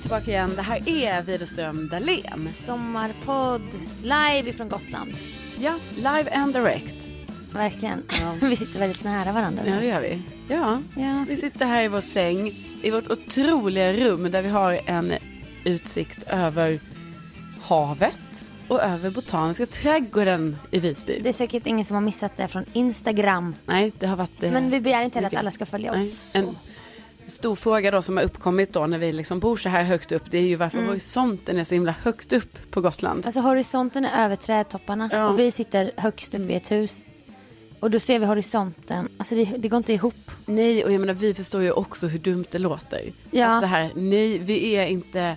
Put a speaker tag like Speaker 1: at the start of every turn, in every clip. Speaker 1: tillbaka igen. Det här är Widerström Dahlén.
Speaker 2: Sommarpodd live ifrån Gotland.
Speaker 1: Ja, live and direct.
Speaker 2: Verkligen. Vi sitter väldigt nära varandra.
Speaker 1: Ja, det gör vi. Ja.
Speaker 2: Ja.
Speaker 1: vi sitter här i vår säng i vårt otroliga rum där vi har en utsikt över havet och över Botaniska trädgården i Visby.
Speaker 2: Det är säkert ingen som har missat det från Instagram.
Speaker 1: Nej, det har varit... eh,
Speaker 2: Men vi begär inte heller att
Speaker 1: mycket.
Speaker 2: alla ska följa oss.
Speaker 1: Nej, en stor fråga då som har uppkommit då när vi liksom bor så här högt upp det är ju
Speaker 2: Mm.
Speaker 1: varför horisonten är så himla högt upp på Gotland.
Speaker 2: Alltså horisonten är över trädtopparna
Speaker 1: Ja.
Speaker 2: och vi sitter högst upp i ett hus. Och då ser vi horisonten. Alltså det, det går inte ihop.
Speaker 1: Nej, och jag menar vi förstår ju också hur dumt det låter.
Speaker 2: Ja.
Speaker 1: Att det här, nej, vi är inte,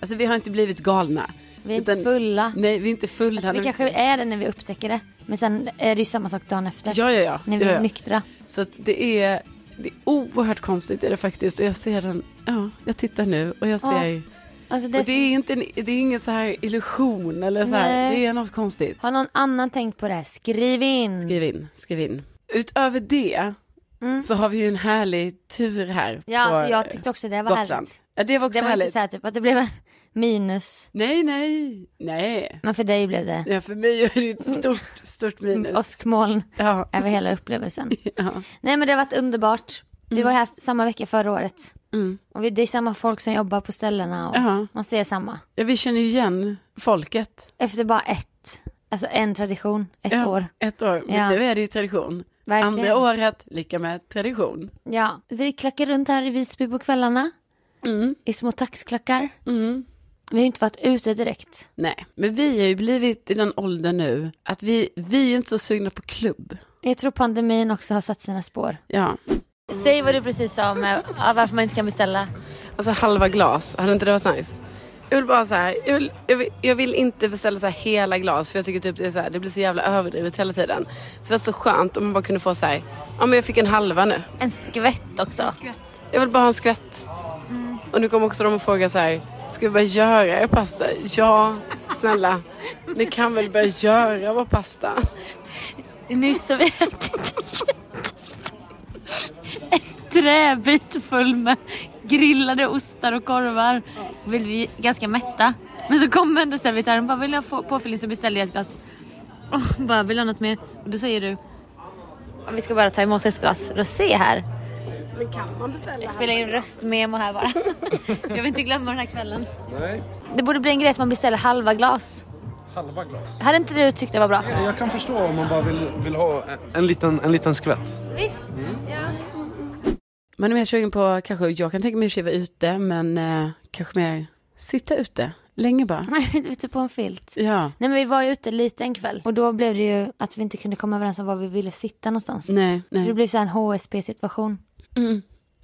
Speaker 1: alltså vi har inte blivit galna.
Speaker 2: Vi är inte fulla.
Speaker 1: Nej, vi är inte fulla.
Speaker 2: Alltså, vi
Speaker 1: när
Speaker 2: kanske är det när vi upptäcker det. Men sen är det ju samma sak dagen efter.
Speaker 1: Ja, ja, ja.
Speaker 2: När vi
Speaker 1: ja,
Speaker 2: är
Speaker 1: ja.
Speaker 2: nyktra.
Speaker 1: Så att det är, det är oerhört konstigt är det faktiskt. Och jag ser den, ja, jag tittar nu och jag ser.
Speaker 2: Alltså
Speaker 1: Och det är, inte en, det är ingen så här illusion eller så här,
Speaker 2: Nej.
Speaker 1: det är något konstigt.
Speaker 2: Har någon annan tänkt på det här? Skriv in.
Speaker 1: Skriv in, skriv in. Utöver det så har vi ju en härlig tur här
Speaker 2: Mm. Ja,
Speaker 1: på
Speaker 2: alltså, jag
Speaker 1: eh,
Speaker 2: tyckte också det var
Speaker 1: Gotland.
Speaker 2: härligt.
Speaker 1: Ja, det var också
Speaker 2: Det var inte
Speaker 1: härligt.
Speaker 2: så här typ att det blev en minus.
Speaker 1: Nej, nej, nej.
Speaker 2: Men för dig blev det
Speaker 1: Ja, för mig är det ju ett stort, stort
Speaker 2: Mm,
Speaker 1: minus.
Speaker 2: åskmoln
Speaker 1: Ja,
Speaker 2: över hela upplevelsen.
Speaker 1: ja.
Speaker 2: Nej men det har varit underbart. Vi var här samma vecka förra året.
Speaker 1: Mm.
Speaker 2: Och vi, det är samma folk som jobbar på ställena och
Speaker 1: Ja.
Speaker 2: man ser samma.
Speaker 1: ja, vi känner ju igen folket.
Speaker 2: Efter bara ett, alltså en tradition, ett
Speaker 1: ja,
Speaker 2: år.
Speaker 1: Ett år, men
Speaker 2: Ja.
Speaker 1: nu är det ju tradition.
Speaker 2: Verkligen.
Speaker 1: Andra året, lika med tradition.
Speaker 2: Ja, vi klackar runt här i Visby på kvällarna.
Speaker 1: Mm.
Speaker 2: I små taxklackar.
Speaker 1: Mm.
Speaker 2: Vi har ju inte varit ute direkt.
Speaker 1: Nej, men vi har ju blivit i den åldern nu att vi, vi är ju inte så sugna på klubb.
Speaker 2: Jag tror pandemin också har satt sina spår.
Speaker 1: Ja,
Speaker 2: Säg vad du precis sa om eh, varför man inte kan beställa.
Speaker 3: Alltså halva glas, hade inte det varit nice? Jag vill bara så här, jag vill, jag vill, jag vill inte beställa så här hela glas för jag tycker typ det är så här, det blir så jävla överdrivet hela tiden. Så det var så skönt om man bara kunde få så här, ja men jag fick en halva nu.
Speaker 2: En skvätt också.
Speaker 3: Jag vill bara ha en skvätt.
Speaker 2: Mm.
Speaker 3: Och nu kommer också de och fråga så här, ska vi börja göra er pasta? Ja, snälla. Ni kan väl börja göra vår pasta?
Speaker 2: Nyss har vi ätit en jättestor en träbit full med grillade ostar och korvar. Och vill vi ganska mätta. Men så kommer ändå servitören bara vill jag få påfyllning så beställer jag ett glas. Och bara vill jag något mer? Och då säger du vi ska bara ta emot ett glas rosé här. Jag spelar in röstmemo här bara. Jag vill inte glömma den här kvällen.
Speaker 4: Nej,
Speaker 2: Det borde bli en grej att man beställer halva glas.
Speaker 4: halva glas.
Speaker 2: Hade inte du tyckt det var bra?
Speaker 4: Jag kan förstå om man bara vill, vill ha en liten, en liten skvätt.
Speaker 2: Visst.
Speaker 1: Man är mer sugen på kanske, jag kan tänka mig att vara ute, men eh, kanske mer sitta ute länge bara.
Speaker 2: Ute på en filt.
Speaker 1: Ja,
Speaker 2: Nej men vi var ju ute lite en kväll och då blev det ju att vi inte kunde komma överens om var vi ville sitta någonstans.
Speaker 1: nej, Mm.
Speaker 2: Det
Speaker 1: nej.
Speaker 2: blev så här en HSP situation.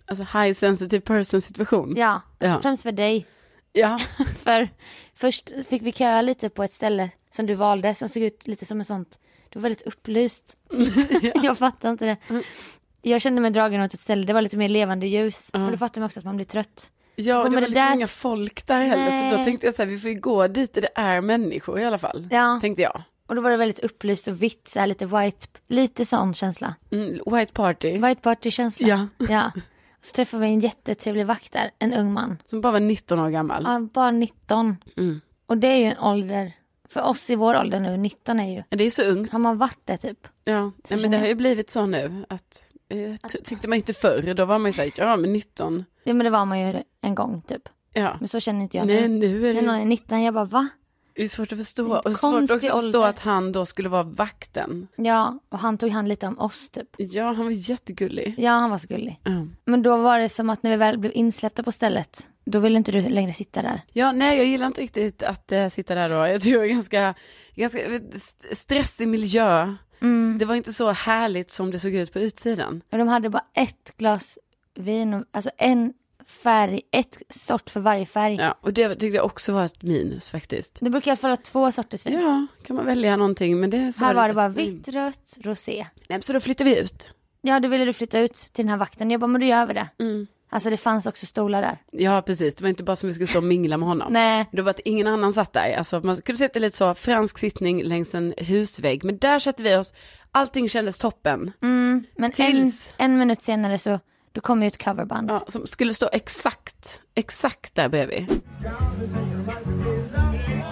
Speaker 1: Alltså high sensitive person situation.
Speaker 2: Ja, alltså
Speaker 1: Ja.
Speaker 2: främst för dig.
Speaker 1: Ja,
Speaker 2: För först fick vi köa lite på ett ställe som du valde som såg ut lite som en sånt, du var väldigt upplyst. Jag fattar inte det.
Speaker 1: Mm.
Speaker 2: Jag kände mig dragen åt ett ställe, det var lite mer levande ljus. Och då fattar man också att man blir trött.
Speaker 1: ja och
Speaker 2: Men
Speaker 1: det var
Speaker 2: det
Speaker 1: liksom
Speaker 2: där-
Speaker 1: inga folk där heller, så då
Speaker 2: Nej.
Speaker 1: tänkte jag så här, vi får ju gå dit där det är människor i alla fall.
Speaker 2: Ja.
Speaker 1: Tänkte jag.
Speaker 2: Och då var det väldigt upplyst och vitt, så här lite white, lite sån känsla.
Speaker 1: Mm, white party,
Speaker 2: White party-känsla.
Speaker 1: Ja.
Speaker 2: ja. Så träffade vi en jättetrevlig vakt där, en ung man.
Speaker 1: som bara var 19 år gammal.
Speaker 2: Ja, bara 19.
Speaker 1: Mm.
Speaker 2: Och det är ju en ålder, för oss i vår ålder nu, 19 är ju,
Speaker 1: Ja, Det är så ungt.
Speaker 2: har man varit det typ?
Speaker 1: Ja, ja men det har ju blivit så nu att eh, ty- tyckte man inte förr, då var man ju såhär, ja men 19,
Speaker 2: Ja men det var man ju en gång typ.
Speaker 1: ja.
Speaker 2: Men så känner inte jag
Speaker 1: Nej
Speaker 2: nu.
Speaker 1: nu är det,
Speaker 2: När någon
Speaker 1: ju-
Speaker 2: är 19, jag bara va?
Speaker 1: det är svårt att
Speaker 2: Det är
Speaker 1: förstå.
Speaker 2: en
Speaker 1: Och svårt också
Speaker 2: konstig
Speaker 1: att förstå
Speaker 2: ålder.
Speaker 1: att han då skulle vara vakten.
Speaker 2: Ja, och han tog hand lite om oss typ.
Speaker 1: Ja, han var jättegullig.
Speaker 2: Ja, han var så gullig.
Speaker 1: Ja.
Speaker 2: Men då var det som att när vi väl blev insläppta på stället, då ville inte du längre sitta där.
Speaker 1: Ja, nej jag gillar inte riktigt att eh, sitta där då. Jag tror jag är ganska, ganska eh, st- stressig miljö. Det var inte så härligt som det såg ut på utsidan.
Speaker 2: Och de hade bara ett glas vin, och, alltså en färg, ett sort för varje färg.
Speaker 1: Ja, och det tyckte jag också var ett minus faktiskt.
Speaker 2: Det brukar i alla fall vara två sorters vin.
Speaker 1: Ja, kan man välja någonting men det... så
Speaker 2: Här var det
Speaker 1: lite- mm.
Speaker 2: bara vitt, rött, rosé.
Speaker 1: Nej, men så då flyttar vi ut.
Speaker 2: Ja, då ville du flytta ut till den här vakten. Jag bara, men då gör vi det.
Speaker 1: Mm.
Speaker 2: Alltså det fanns också stolar där.
Speaker 1: Ja, precis. Det var inte bara som vi skulle stå och mingla med honom.
Speaker 2: Nej.
Speaker 1: Det var att ingen annan satt där. Alltså, man kunde sitta lite så, fransk sittning längs en husvägg.
Speaker 2: Mm.
Speaker 1: Men där satte vi oss, allting kändes toppen.
Speaker 2: Men en,
Speaker 1: Tills-
Speaker 2: en minut senare så Då kommer ju ett coverband.
Speaker 1: Ja, som skulle stå exakt, exakt där bredvid.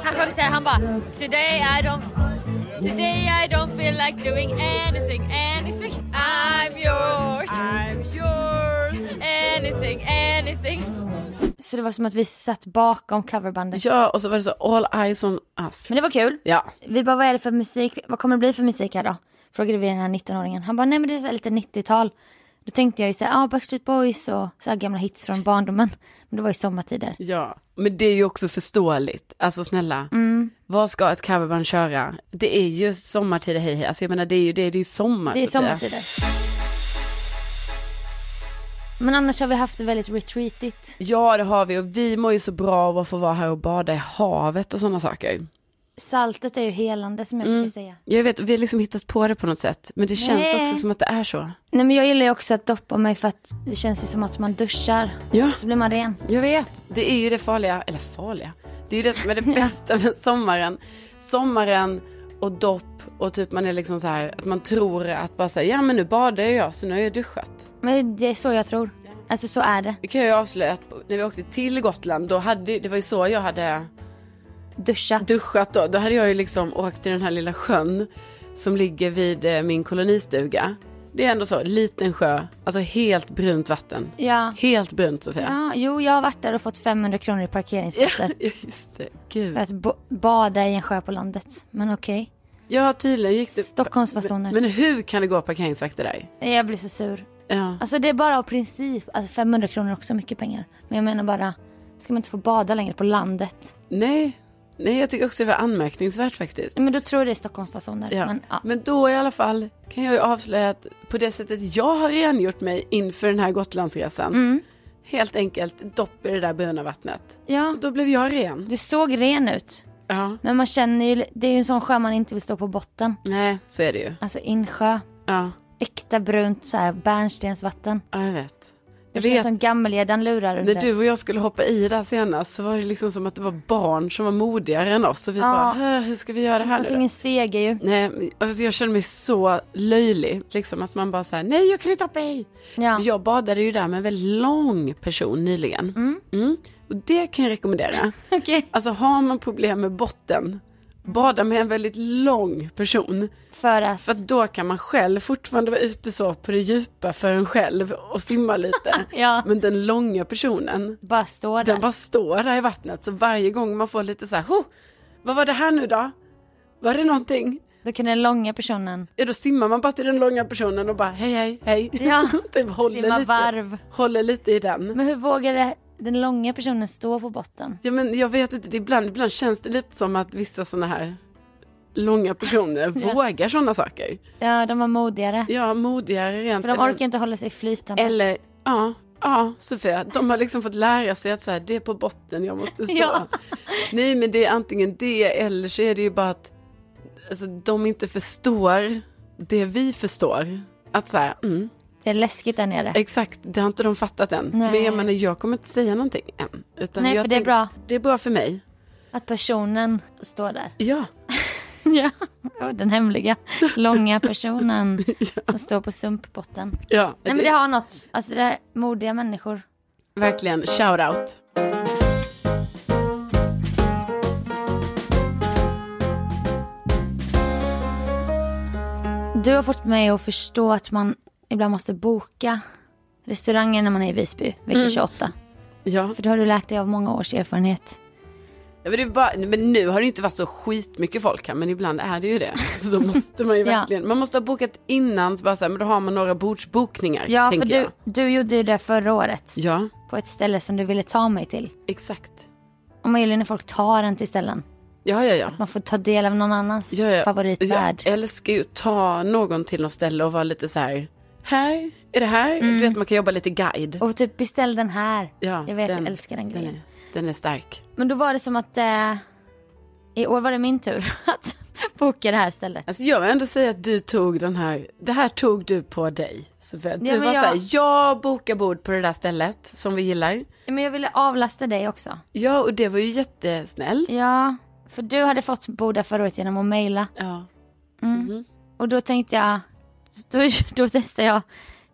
Speaker 2: Han sjöng såhär, han bara Today I don't Today I don't feel like doing anything, anything I'm yours I'm yours Anything, anything Så det var som att vi satt bakom coverbandet.
Speaker 1: Ja, och så var det så all eyes on us.
Speaker 2: Men det var kul.
Speaker 1: Ja,
Speaker 2: Vi bara, vad är det för musik? Vad kommer det bli för musik här då? Frågade vi den här 19-åringen. Han bara, nej men det är så här lite 90-tal. Då tänkte jag ju såhär, ah, Backstreet Boys och så här gamla hits från barndomen. Men det var ju sommartider.
Speaker 1: ja. Men det är ju också förståeligt. Alltså snälla,
Speaker 2: Mm.
Speaker 1: vad ska ett coverband köra? Det är ju sommartider, hej hej. Alltså jag menar det är ju, det är ju sommar. typ.
Speaker 2: Det är
Speaker 1: Sofia.
Speaker 2: sommartider. Men annars har vi haft det väldigt retreatigt.
Speaker 1: Ja, det har vi och vi mår ju så bra av att få vara här och bada i havet och sådana saker.
Speaker 2: Saltet är ju helande som jag
Speaker 1: Mm.
Speaker 2: brukar säga.
Speaker 1: Jag vet, vi har liksom hittat på det på något sätt, men det känns
Speaker 2: Nej.
Speaker 1: också som att det är så.
Speaker 2: Nej men jag gillar ju också att doppa mig för att det känns ju som att man duschar.
Speaker 1: Ja.
Speaker 2: Så blir man ren.
Speaker 1: Jag vet, det är ju det farliga, eller farliga, det är ju det som är det bästa med sommaren. Sommaren och dopp och typ man är liksom så här, att man tror att bara säga ja men nu badar jag så nu har jag duschat.
Speaker 2: Men det är så jag tror. Alltså så är det.
Speaker 1: Det kan jag ju avslöja att när vi åkte till Gotland, då hade, det var ju så jag hade
Speaker 2: Duscha.
Speaker 1: duschat då. Då hade jag ju liksom åkt till den här lilla sjön som ligger vid eh, min kolonistuga. Det är ändå så, liten sjö, alltså helt brunt vatten.
Speaker 2: Ja.
Speaker 1: Helt brunt Sofia.
Speaker 2: ja. Jo jag har varit där och fått 500 kronor i parkeringsböter.
Speaker 1: Ja, just det. Gud.
Speaker 2: För att bo- bada i en sjö på landet. Men okej.
Speaker 1: Ja, tydligen gick det.
Speaker 2: Stockholmsfasoner.
Speaker 1: Men hur kan det gå parkeringsvakter där?
Speaker 2: Jag blir så sur.
Speaker 1: Ja.
Speaker 2: Alltså det är bara av princip. Alltså 500 kronor är också mycket pengar. Men jag menar bara. Ska man inte få bada längre på landet?
Speaker 1: Nej. Nej, jag tycker också det var anmärkningsvärt faktiskt.
Speaker 2: Nej, Men då tror jag det är Stockholmsfasoner.
Speaker 1: Ja.
Speaker 2: Men, ja.
Speaker 1: Men då i alla fall kan jag ju avslöja att på det sättet jag har rengjort mig inför den här Gotlandsresan.
Speaker 2: Mm.
Speaker 1: Helt enkelt dopp i det där bruna vattnet.
Speaker 2: ja.
Speaker 1: Då blev jag ren.
Speaker 2: Du såg ren ut.
Speaker 1: Ja.
Speaker 2: Men man känner ju. Det är ju en sån sjö man inte vill stå på botten.
Speaker 1: Nej, så är det ju.
Speaker 2: Alltså insjö.
Speaker 1: Ja,
Speaker 2: Äkta brunt så här bärnstensvatten.
Speaker 1: ja jag vet.
Speaker 2: Det
Speaker 1: Jag
Speaker 2: känns
Speaker 1: vet.
Speaker 2: som gammelgäddan lurar under.
Speaker 1: När du och jag skulle hoppa i där senast så var det liksom som att det var barn som var modigare än oss. Och vi
Speaker 2: Ja.
Speaker 1: bara, "Äh, hur ska vi göra det här
Speaker 2: Fast
Speaker 1: nu då?"
Speaker 2: Alltså, ingen stege ju.
Speaker 1: Nej, men, alltså jag känner mig så löjlig. Liksom att man bara säger nej jag kan inte hoppa i.
Speaker 2: Ja.
Speaker 1: Jag badade ju där med en väldigt lång person nyligen. Mm. Och det kan jag rekommendera.
Speaker 2: Okej.
Speaker 1: Alltså har man problem med botten, bada med en väldigt lång person.
Speaker 2: För att.
Speaker 1: För att då kan man själv fortfarande vara ute så på det djupa för en själv och simma lite.
Speaker 2: Ja.
Speaker 1: Men den långa personen,
Speaker 2: Bara stå där.
Speaker 1: den bara står där i vattnet. Så varje gång man får lite så här, "Ho, vad var det här nu då? Var det någonting?
Speaker 2: Då kan den långa personen.
Speaker 1: Ja, då simmar man bara till den långa personen och bara hej, hej, hej.
Speaker 2: Ja.
Speaker 1: typ håller
Speaker 2: Simma
Speaker 1: lite,
Speaker 2: varv.
Speaker 1: håller lite i den.
Speaker 2: Men hur vågade den långa personen stå på botten?
Speaker 1: Ja, men jag vet inte, det ibland, ibland känns det lite som att vissa sådana här långa personer vågar sådana saker.
Speaker 2: Ja, de var modigare.
Speaker 1: Ja, modigare rent.
Speaker 2: För de
Speaker 1: eller-
Speaker 2: orkar inte hålla sig flytande.
Speaker 1: Eller, ja, ja, Sofia. De har liksom fått lära sig att så här, det är på botten jag måste stå.
Speaker 2: Ja.
Speaker 1: Nej, men det är antingen det eller så är det ju bara att alltså, de inte förstår det vi förstår. Att så här, mm,
Speaker 2: Det är läskigt där nere.
Speaker 1: exakt, det har inte de fattat än.
Speaker 2: Nej.
Speaker 1: Men jag menar, jag kommer inte säga någonting än. Utan
Speaker 2: Nej,
Speaker 1: jag
Speaker 2: för det är
Speaker 1: tänk-
Speaker 2: bra
Speaker 1: Det är bra för mig.
Speaker 2: att personen står där.
Speaker 1: Ja,
Speaker 2: Ja, Ja, den hemliga långa personen som står på sumpbotten.
Speaker 1: ja.
Speaker 2: Nej men det har något. Alltså det är modiga människor.
Speaker 1: Verkligen, shout out.
Speaker 2: Du har fått mig att förstå att man ibland måste boka restauranger när man är i Visby vecka
Speaker 1: Mm.
Speaker 2: 28.
Speaker 1: Ja.
Speaker 2: För det har du lärt dig av många års erfarenhet.
Speaker 1: Ja, men, det är bara, men nu har det inte varit så skitmycket folk här, men ibland är det ju det. Så då måste man ju
Speaker 2: Ja.
Speaker 1: verkligen, man måste ha bokat innan, så bara så här, men då har man några bordsbokningar,
Speaker 2: Ja, för
Speaker 1: tänker
Speaker 2: du,
Speaker 1: jag.
Speaker 2: du gjorde ju det förra året
Speaker 1: Ja,
Speaker 2: på ett ställe som du ville ta mig till.
Speaker 1: exakt.
Speaker 2: Och man gillar när folk tar en till ställen.
Speaker 1: Ja, ja, ja.
Speaker 2: Man får ta del av någon annans
Speaker 1: ja, ja.
Speaker 2: favoritvärld.
Speaker 1: Jag älskar ju att ta någon till något ställe och vara lite så här, här, är det här? Du vet, man kan jobba lite guide.
Speaker 2: Och typ beställ den här.
Speaker 1: ja,
Speaker 2: Mm. jag vet, jag älskar den grejen.
Speaker 1: är, den är stark.
Speaker 2: Men då var det som att eh, i år var det min tur att boka det här stället.
Speaker 1: Alltså jag vill ändå säga att du tog den här, det här tog du på dig. Så för att du
Speaker 2: Ja, men
Speaker 1: var
Speaker 2: jag-
Speaker 1: så här, jag bokar bord på det där stället som vi gillar.
Speaker 2: Men jag ville avlasta dig också.
Speaker 1: Ja, och det var ju jättesnällt.
Speaker 2: Ja, för du hade fått bo där förra året genom att mejla.
Speaker 1: Ja.
Speaker 2: Och då tänkte jag, då, då testade jag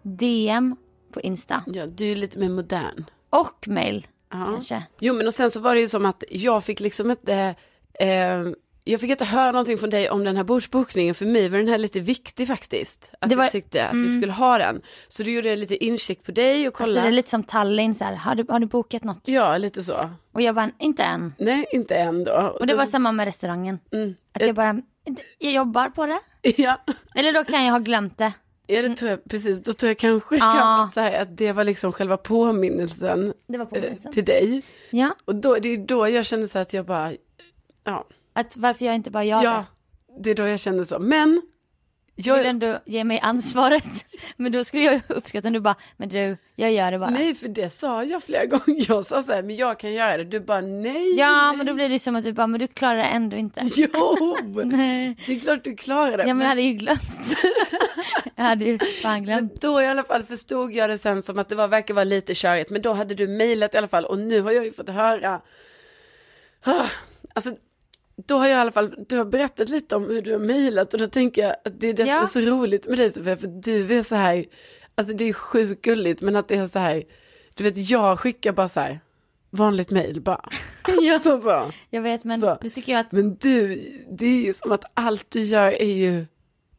Speaker 2: DM på Insta.
Speaker 1: Ja, du är lite mer modern.
Speaker 2: Och mail
Speaker 1: Ja.
Speaker 2: kanske. Alltså,
Speaker 1: Jo men och sen så var det ju som att jag fick liksom inte, eh, jag fick inte höra någonting från dig om den här bordsbokningen, för mig var den här lite viktig faktiskt. Att
Speaker 2: Det var- Mm.
Speaker 1: jag tyckte att vi skulle ha den. Så du gjorde lite incheck på dig och kollade.
Speaker 2: Alltså det är lite som Tallinn så här, har du, har du bokat något?
Speaker 1: Ja, lite så.
Speaker 2: Och jag bara, inte än.
Speaker 1: Nej, inte än då. Mm.
Speaker 2: Och det var samma med restaurangen. Att jag bara, jag jobbar på det.
Speaker 1: Ja.
Speaker 2: Eller då kan jag ha glömt det.
Speaker 1: ja, det tror jag precis. Då tror jag kanske det
Speaker 2: Ja.
Speaker 1: kan vara så här, att det var liksom själva påminnelsen
Speaker 2: Det var
Speaker 1: eh,
Speaker 2: påminnelsen.
Speaker 1: till dig.
Speaker 2: Ja,
Speaker 1: Och då, det är då jag kände så här att jag bara, ja,
Speaker 2: att varför jag inte bara gör
Speaker 1: ja,
Speaker 2: det.
Speaker 1: det är då jag kände så. Men,
Speaker 2: Du
Speaker 1: jag,
Speaker 2: vill ändå ge mig ansvaret. Men då skulle jag ju uppskatta om du bara, men du, jag gör det bara.
Speaker 1: Nej, för det sa jag flera gånger. Jag sa så här, men jag kan göra det. Du bara, nej.
Speaker 2: Ja,
Speaker 1: nej.
Speaker 2: men då blir det ju som att du bara, men du klarar det ändå inte.
Speaker 1: Jo, det är klart du klarar det.
Speaker 2: Ja, men jag hade ju glömt. jag hade ju fan
Speaker 1: Men
Speaker 2: glömt.
Speaker 1: då i alla fall förstod jag det sen som att det var, verkar vara lite körigt. Men då hade du mejlat i alla fall och nu har jag ju fått höra. Ah, Alltså, då har jag i alla fall, du har berättat lite om hur du har mejlat och då tänker jag att det är det
Speaker 2: Ja.
Speaker 1: som är så roligt med dig Sofia, för du är så här, alltså det är sjukt gulligt men att det är så här, du vet jag skickar bara så här, vanligt mejl bara. ja. så, så.
Speaker 2: Jag vet, men
Speaker 1: Så.
Speaker 2: nu tycker jag att,
Speaker 1: Men du, det är ju som att allt du gör är ju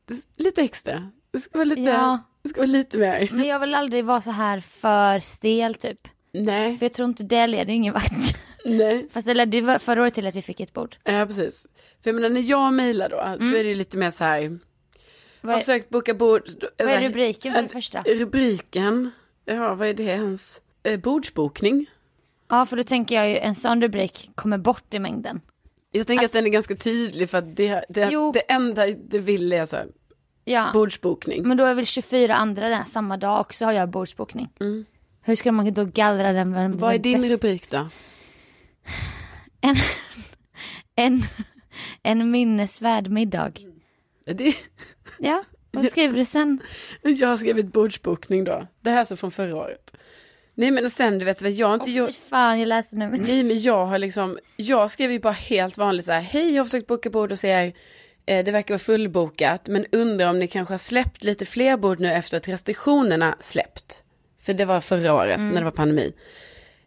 Speaker 1: det är lite extra. Det ska vara lite,
Speaker 2: Ja.
Speaker 1: det ska vara lite mer.
Speaker 2: men jag vill aldrig vara så här för stel typ.
Speaker 1: Nej,
Speaker 2: För jag tror inte det leder ingen vart.
Speaker 1: nej.
Speaker 2: Fast det ledde ju förra året till att vi fick ett bord.
Speaker 1: Ja, precis. För jag menar, när jag mejlar då, då är det ju lite mer så här.
Speaker 2: Mm. Vad
Speaker 1: Jag har
Speaker 2: är,
Speaker 1: försökt boka bord.
Speaker 2: vad
Speaker 1: eller-
Speaker 2: är rubriken för det första?
Speaker 1: Rubriken. Ja, vad är det ens? Eh, bordsbokning.
Speaker 2: Ja, för då tänker jag ju en sån rubrik kommer bort i mängden.
Speaker 1: Jag tänker
Speaker 2: Alltså-
Speaker 1: att den är ganska tydlig för att det, det,
Speaker 2: Jo.
Speaker 1: det enda det vill är så här,
Speaker 2: Ja,
Speaker 1: bordsbokning.
Speaker 2: men då är väl 24 andra där samma dag också har jag bordsbokning.
Speaker 1: Mm.
Speaker 2: Hur ska man då gallra den? Vem,
Speaker 1: Vad är
Speaker 2: vem
Speaker 1: din
Speaker 2: bäst?
Speaker 1: rubrik då?
Speaker 2: En, en, en minnesvärd middag.
Speaker 1: Det,
Speaker 2: Ja, vad skriver du sen?
Speaker 1: jag har skrivit bordsbokning då. Det här är så från förra året. Nej men och sen du vet vad jag har inte
Speaker 2: Åh,
Speaker 1: gjort.
Speaker 2: fy fan, jag läste numret.
Speaker 1: Nej men jag har liksom, jag skrev ju bara helt vanligt så här, hej jag har försökt boka bord och säger, eh, det verkar vara fullbokat, men undrar om ni kanske har släppt lite fler bord nu efter att restriktionerna släppt. För det var förra året
Speaker 2: Mm.
Speaker 1: när det var pandemi.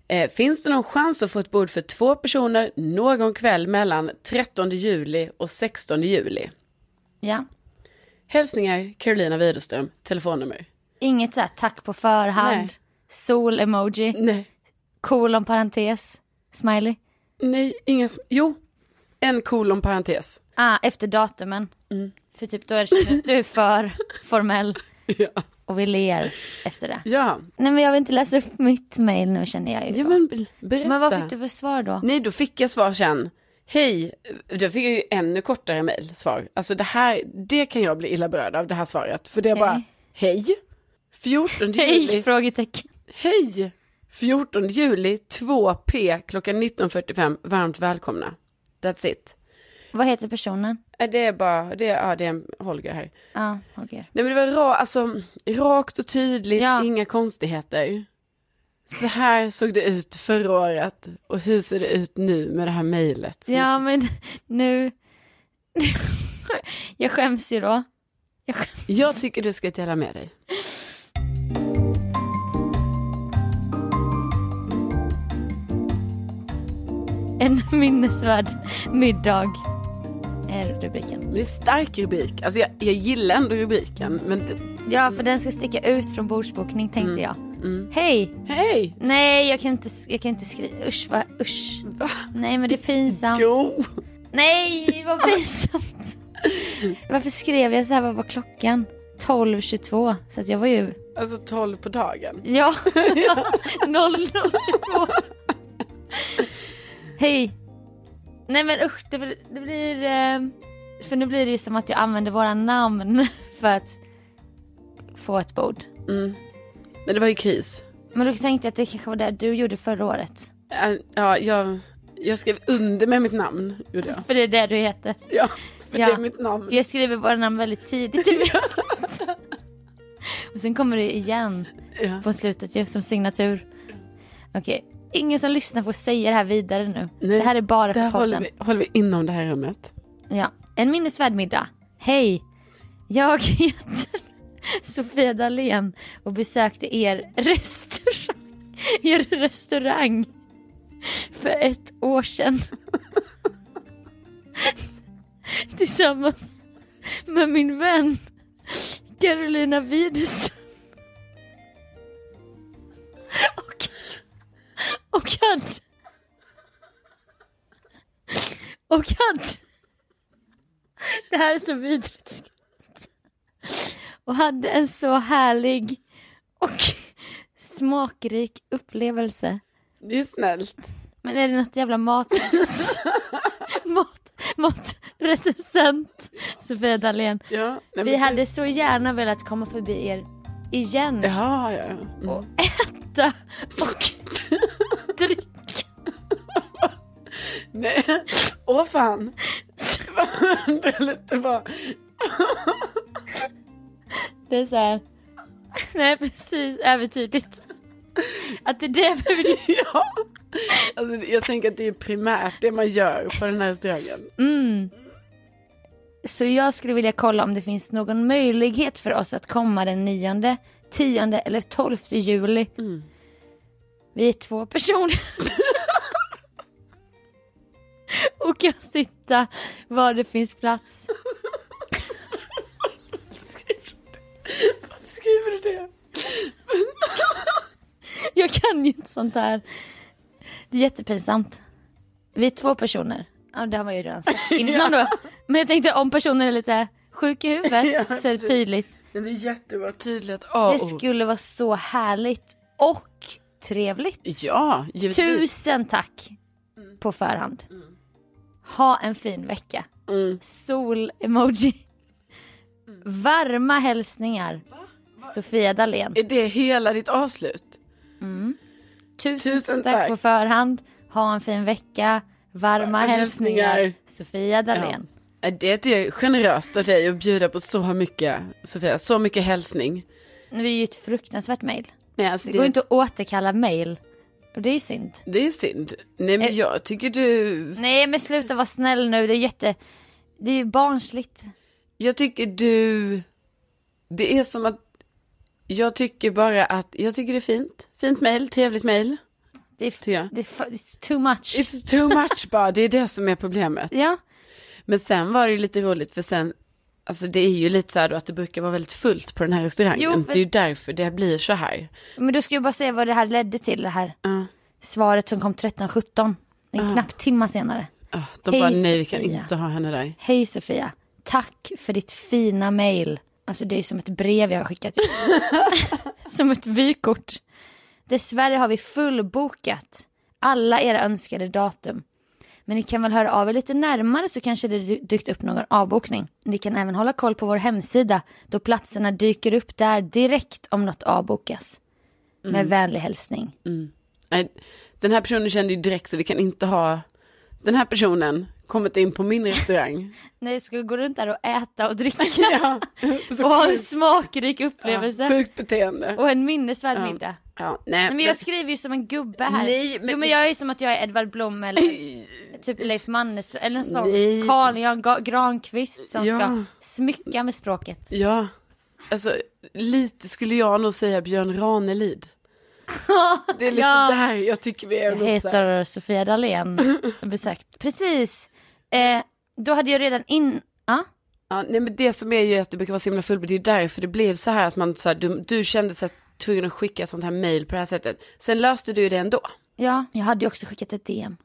Speaker 1: Eh, finns det någon chans att få ett bord för två personer någon kväll mellan 13 juli och 16 juli?
Speaker 2: Ja.
Speaker 1: Hälsningar Carolina Widerström, telefonnummer.
Speaker 2: Inget så här tack på förhand,
Speaker 1: Nej.
Speaker 2: sol-emoji,
Speaker 1: Nej,
Speaker 2: kolon parentes, smiley.
Speaker 1: nej, ingen, sm- jo, en kolon parentes.
Speaker 2: Ah, efter datumen.
Speaker 1: Mm.
Speaker 2: För typ då är det, du är för formell
Speaker 1: Ja.
Speaker 2: och vi ler efter det.
Speaker 1: Ja,
Speaker 2: Nej men jag vill inte läsa upp mitt mail nu känner jag ju.
Speaker 1: ja
Speaker 2: då.
Speaker 1: men be- berätta.
Speaker 2: men vad fick du för svar då?
Speaker 1: Nej, då fick jag svar sen. Hej, då fick jag ju ännu kortare mejl, svar. Alltså det här, det kan jag bli illa berörd av, det här svaret. För det är
Speaker 2: Okej.
Speaker 1: bara, hej, 14
Speaker 2: Hej?
Speaker 1: juli,
Speaker 2: Frågetecken.
Speaker 1: hej, 14 juli, 2p, klockan 19.45, varmt välkomna. That's it.
Speaker 2: Vad heter personen?
Speaker 1: Äh, Det är bara, det är, ja det är en Holger här.
Speaker 2: Ja, Holger.
Speaker 1: Nej men det var ra, alltså, rakt och tydligt,
Speaker 2: Ja.
Speaker 1: inga konstigheter. Så här såg det ut förra året och hur ser det ut nu med det här mejlet? som
Speaker 2: Ja men nu, jag skäms ju då. Jag skäms.
Speaker 1: Jag tycker du ska dela med dig.
Speaker 2: En minnesvärd middag är rubriken.
Speaker 1: Det är stark rubrik. Alltså jag, jag gillar ändå rubriken. Men det,
Speaker 2: Ja för den ska sticka ut från bordsbokning tänkte jag. Hej!
Speaker 1: mm. hej!
Speaker 2: Nej jag kan inte, jag kan inte skriva, usch vad, usch.
Speaker 1: Va?
Speaker 2: Nej men det är pinsamt.
Speaker 1: Jo!
Speaker 2: Nej, vad pinsamt. Varför skrev jag så här? Vad var klockan? 12.22. Så att jag var ju...
Speaker 1: Alltså 12 på dagen.
Speaker 2: Ja. 00.22. Hej. Nej men usch, det, blir- det blir... eh, För nu blir det ju som att jag använder våra namn för att få ett bord.
Speaker 1: Mm. Men det var ju kris.
Speaker 2: Men då tänkte jag att det kanske var det du gjorde förra året.
Speaker 1: Äh, Ja, jag, jag skrev under med mitt namn. Gjorde jag.
Speaker 2: För det är det du heter.
Speaker 1: Ja, för
Speaker 2: Ja.
Speaker 1: det är mitt namn.
Speaker 2: För jag skriver våra namn väldigt tidigt i mejlet. Och sen kommer det igen.
Speaker 1: Ja.
Speaker 2: på slutet ju, som signatur. Okej, ingen som lyssnar får säga det här vidare nu.
Speaker 1: Nej,
Speaker 2: det här är bara
Speaker 1: Där
Speaker 2: för
Speaker 1: håller
Speaker 2: podden.
Speaker 1: vi, håller vi inom det här rummet.
Speaker 2: Ja. En minnesvärd middag. Hej! Jag heter Sofia Dalén och besökte er restaurang, er restaurang för ett år sedan. Tillsammans med min vän Carolina Widerström. Och, och hade... Och hade... Det här är så vidrigt och hade en så härlig och smakrik upplevelse.
Speaker 1: Det är ju snällt.
Speaker 2: Men är det något jävla mat... mat... Matrecensent Sofia Dalén.
Speaker 1: Ja, nej, men-
Speaker 2: Vi hade så gärna velat komma förbi er igen
Speaker 1: Ja, ja, ja.
Speaker 2: och äta och dricka.
Speaker 1: Nej. Åh fan. Det är lite bara...
Speaker 2: Det är så här... Nej precis, övertydligt. Att det är det vi vill
Speaker 1: Ja. Alltså, jag tänker att det är primärt det man gör på den här restaurangen.
Speaker 2: Mm. Så jag skulle vilja kolla om det finns någon möjlighet för oss att komma den 9, 10 eller 12 juli. Vi är två personer. Och kan sitta var det finns plats.
Speaker 1: Varför skriver du det?
Speaker 2: Jag kan ju inte sånt här. Det är jättepinsamt. Vi är två personer. Ja, det har man ju redan sagt innan då. Men jag tänkte om personen är lite sjuk i huvudet så är det tydligt.
Speaker 1: Men det är jättebra tydligt
Speaker 2: Det
Speaker 1: A-ord.
Speaker 2: skulle vara så härligt och trevligt.
Speaker 1: Ja, givetvis.
Speaker 2: Tusen tack på förhand. Ha en fin vecka.
Speaker 1: Mm.
Speaker 2: Sol-emoji. Mm. Varma hälsningar. Sofia Dalén.
Speaker 1: Är det hela ditt avslut?
Speaker 2: Tusen,
Speaker 1: tusen
Speaker 2: tack.
Speaker 1: tack.
Speaker 2: på förhand. Ha en fin vecka. Varma hälsningar.
Speaker 1: hälsningar.
Speaker 2: Sofia Dalén.
Speaker 1: Nej, Det är ju generöst av dig att bjuda på så mycket, Sofia. Så mycket hälsning.
Speaker 2: Nu är det ju ett fruktansvärt mejl.
Speaker 1: Nej, alltså,
Speaker 2: Det går ju inte att återkalla mejl. Och det är ju synd.
Speaker 1: det är synd. Nej, men
Speaker 2: Eh.
Speaker 1: jag tycker du...
Speaker 2: Nej men sluta vara snäll nu. Det är jätte... Det är ju barnsligt.
Speaker 1: Jag tycker du... Det är som att... Jag tycker bara att... Jag tycker det är fint. Fint mejl, trevligt mejl.
Speaker 2: Det är,
Speaker 1: Tycker jag.
Speaker 2: det är för- it's too much.
Speaker 1: It's too much bara, det är det som är problemet.
Speaker 2: Ja.
Speaker 1: Men sen var det ju lite roligt för sen, alltså det är ju lite så här då att det brukar vara väldigt fullt på den här restaurangen.
Speaker 2: Jo, för-
Speaker 1: Det är ju därför det blir så här.
Speaker 2: Men då ska jag bara säga vad det här ledde till, det här
Speaker 1: Ja.
Speaker 2: svaret som kom 13.17. En knapp timma senare.
Speaker 1: Ah, de
Speaker 2: Hej,
Speaker 1: bara, nej vi kan
Speaker 2: Sofia."
Speaker 1: inte ha henne där.
Speaker 2: Hej Sofia, tack för ditt fina mail. Alltså det är som ett brev jag har skickat ut. som ett vykort. Dessvärre har vi fullbokat alla era önskade datum. Men ni kan väl höra av er lite närmare så kanske det dy- dykt upp någon avbokning. Ni kan även hålla koll på vår hemsida då platserna dyker upp där direkt om något avbokas. Med vänlig hälsning.
Speaker 1: Nej, den här personen kände ju direkt så vi kan inte ha den här personen kommit in på min restaurang.
Speaker 2: När jag skulle gå runt där och äta och dricka
Speaker 1: ja, så
Speaker 2: och ha en
Speaker 1: sjukt-
Speaker 2: smakrik
Speaker 1: ja,
Speaker 2: upplevelse
Speaker 1: Sjukt beteende.
Speaker 2: och en minnesvärd
Speaker 1: Ja.
Speaker 2: middag.
Speaker 1: Ja, nej,
Speaker 2: Nej, men jag skriver ju som en gubbe här.
Speaker 1: Nej, men-
Speaker 2: Jo men jag är som att jag är Edvard Blom eller typ Leif Mannerström eller en sån
Speaker 1: Nej.
Speaker 2: Carl Jan Ga- Granqvist som
Speaker 1: Ja.
Speaker 2: ska smycka med språket.
Speaker 1: Ja, alltså lite skulle jag nog säga Björn Ranelid. Det är lite
Speaker 2: Ja.
Speaker 1: där jag tycker vi är.
Speaker 2: Jag
Speaker 1: nog så här-
Speaker 2: heter Sofia Dalén. Besökt. Precis. Eh, då hade jag redan in... Ja.
Speaker 1: Ja, nej, men det som är ju att det brukar vara så himla fullbord, det är ju därför det blev så här att man, så här, du, du kände sig tvungen att skicka ett sånt här mail på det här sättet. Sen löste du ju det ändå.
Speaker 2: ja, jag hade ju också skickat ett DM.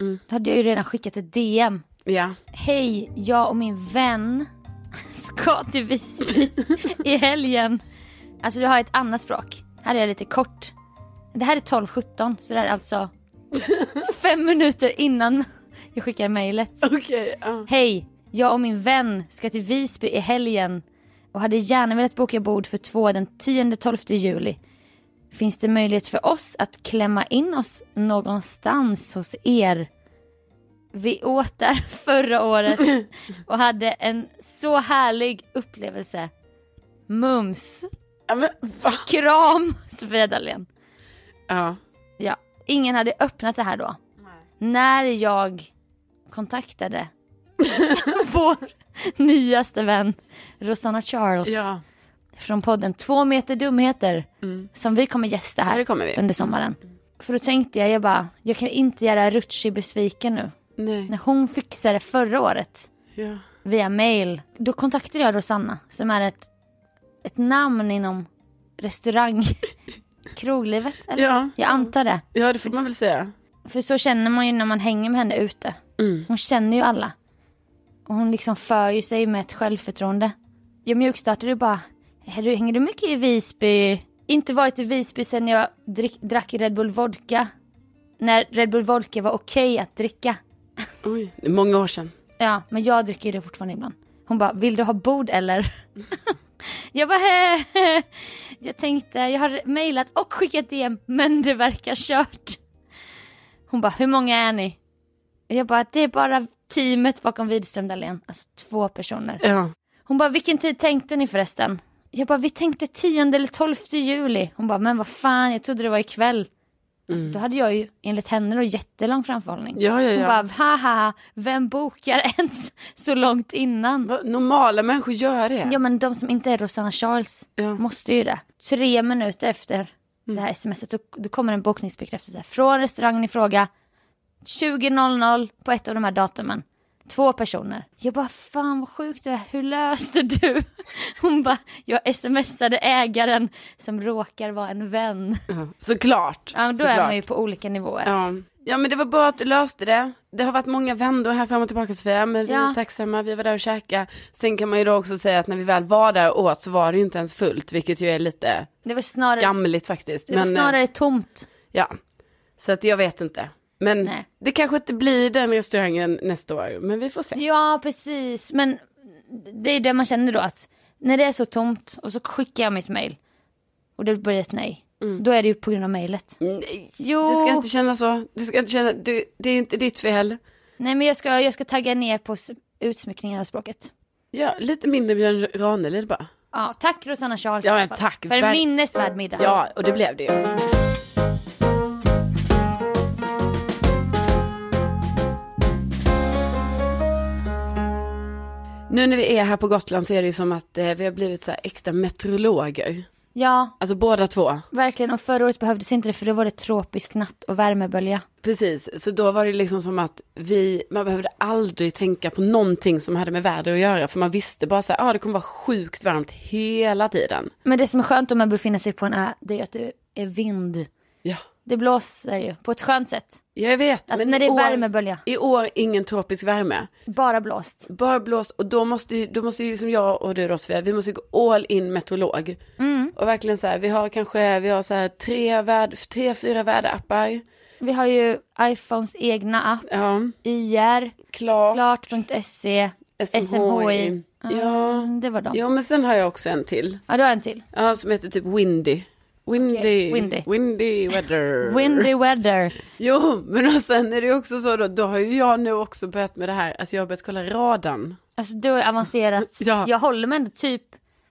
Speaker 1: Mm.
Speaker 2: Då hade jag ju redan skickat ett DM.
Speaker 1: Ja,
Speaker 2: Hej, jag och min vän ska till Visby i helgen. Alltså du har ett annat språk. Här är jag lite kort. Det här är 12.17 så det här är alltså fem minuter innan jag skickar mejlet.
Speaker 1: okej. ja.
Speaker 2: Hej, jag och min vän ska till Visby i helgen och hade gärna velat boka bord för två den 10-12 juli. Finns det möjlighet för oss att klämma in oss någonstans hos er? Vi åt där förra året och hade en så härlig upplevelse. Mums!
Speaker 1: Ja, men va?
Speaker 2: Kram Sofia Dalén.
Speaker 1: Ja.
Speaker 2: Ja, ingen hade öppnat det här då. När jag kontaktade vår nyaste vän Rosanna Charles
Speaker 1: ja.
Speaker 2: från podden Två meter dumheter som vi kommer gästa
Speaker 1: Ja,
Speaker 2: här
Speaker 1: det kommer vi.
Speaker 2: under sommaren. För då tänkte jag, jag bara, jag kan inte göra Rutschi besviken nu.
Speaker 1: Nej.
Speaker 2: När hon fixade förra året
Speaker 1: Ja.
Speaker 2: via mail, då kontaktade jag Rosanna som är ett, ett namn inom restaurang, kroglivet eller?
Speaker 1: Ja.
Speaker 2: Jag antar det.
Speaker 1: ja, det får man väl säga.
Speaker 2: För så känner man ju när man hänger med henne ute.
Speaker 1: Mm.
Speaker 2: Hon känner ju alla. Och hon liksom för ju sig med ett självförtroende. Jag mjukstartade ju bara. "Här, du- Hänger du mycket i Visby? Inte varit i Visby sen jag drick, drack Red Bull Vodka. När Red Bull Vodka var okej att dricka.
Speaker 1: Oj, det är många år sedan.
Speaker 2: Ja, men jag dricker ju det fortfarande ibland. Hon bara, vill du ha bord eller? jag bara, "Heh, heh." Jag tänkte, jag har mejlat och skickat DM, men det verkar kört. Hon bara, hur många är ni? Jag bara, det är bara teamet bakom Widström Dahlén. Alltså två personer.
Speaker 1: Ja.
Speaker 2: Hon bara, vilken tid tänkte ni förresten? Jag bara, vi tänkte 10 eller 12 juli. Hon bara, men vad fan, jag trodde det var ikväll. Alltså, då hade jag ju enligt henne då jättelång framförhållning.
Speaker 1: Ja, ja,
Speaker 2: Hon
Speaker 1: ja.
Speaker 2: bara, haha, vem bokar ens så långt innan?
Speaker 1: Va? Normala människor gör det.
Speaker 2: Ja men de som inte är Rosanna Charles
Speaker 1: Ja.
Speaker 2: måste ju det. Tre minuter efter det här smset då, då kommer en bokningsbekräftelse från restaurangen i fråga. 20.00 på ett av de här datumen. Två personer. Jag bara fan vad sjukt du är, hur löste du? Hon bara jag smsade ägaren som råkar vara en vän.
Speaker 1: Såklart.
Speaker 2: Ja, då
Speaker 1: Såklart.
Speaker 2: är man ju på olika nivåer.
Speaker 1: Ja. ja, men det var bra att du löste det. Det har varit många vändor här fram och tillbaka Sofia, men vi
Speaker 2: Ja.
Speaker 1: är tacksamma, vi var där och käkade. Sen kan man ju då också säga att när vi väl var där och åt så var det ju inte ens fullt, vilket ju är lite
Speaker 2: Det var snarare,
Speaker 1: gamligt faktiskt.
Speaker 2: det var
Speaker 1: Men, eh,
Speaker 2: snarare tomt.
Speaker 1: Ja, så att jag vet inte. Men
Speaker 2: Nej.
Speaker 1: det kanske inte blir den restaurangen nästa år, men vi får se.
Speaker 2: Ja, precis. Men det är det man känner då att när det är så tomt och så skickar jag mitt mail och det blir ett nej. Då är det ju på grund av mejlet.
Speaker 1: Nej,
Speaker 2: Mm. Jo,
Speaker 1: Mm. Du ska inte känna så. Du ska inte känna, du, det är inte ditt fel.
Speaker 2: nej men jag ska, jag ska tagga ner på s- utsmyckningen av språket.
Speaker 1: Ja, lite mindre Björn Ranelid bara.
Speaker 2: Ja, tack Rosanna Charles
Speaker 1: Ja,
Speaker 2: i alla
Speaker 1: men
Speaker 2: fall,
Speaker 1: tack.
Speaker 2: för en
Speaker 1: Ver-
Speaker 2: minnesvärd middag.
Speaker 1: Ja, och det blev det ju. Nu när vi är här på Gotland så är det ju som att eh, vi har blivit så här extra meteorologer.
Speaker 2: ja,
Speaker 1: Alltså båda två.
Speaker 2: verkligen. Och förra året behövdes inte det för då var det tropisk natt och värmebölja.
Speaker 1: Precis, så då var det liksom som att vi, man behövde aldrig tänka på någonting som hade med väder att göra. För man visste bara så här, ah, det kommer vara sjukt varmt hela tiden.
Speaker 2: Men det som är skönt om man befinner sig på en ö, det är att det är vind.
Speaker 1: Ja,
Speaker 2: Det blåser ju på ett skönt sätt.
Speaker 1: jag vet.
Speaker 2: Alltså
Speaker 1: men
Speaker 2: när det
Speaker 1: i
Speaker 2: är
Speaker 1: år-
Speaker 2: värmebölja,
Speaker 1: I år ingen tropisk värme.
Speaker 2: bara blåst.
Speaker 1: Bara blåst och då måste ju, då måste ju som jag och du då Sofia, vi måste gå all in meteorolog.
Speaker 2: Mm.
Speaker 1: Och verkligen så här, vi har kanske, vi har så här tre, värd, tre fyra väderappar.
Speaker 2: Vi har ju iPhones egna app,
Speaker 1: Ja,
Speaker 2: YR,
Speaker 1: klart,
Speaker 2: klart.se, SMHI.
Speaker 1: Ja.
Speaker 2: Mm, det var dem.
Speaker 1: Jo men sen har jag också en till.
Speaker 2: Ja, du har en till.
Speaker 1: Ja, som heter typ Windy. Windy,
Speaker 2: Okej, Windy.
Speaker 1: windy. weather.
Speaker 2: Windy weather.
Speaker 1: Jo, men och sen är det ju också så då, då har ju jag nu också börjat med det här, alltså jag har börjat kolla radarn.
Speaker 2: Alltså du har avancerat.
Speaker 1: Ja.
Speaker 2: Jag håller mig ändå typ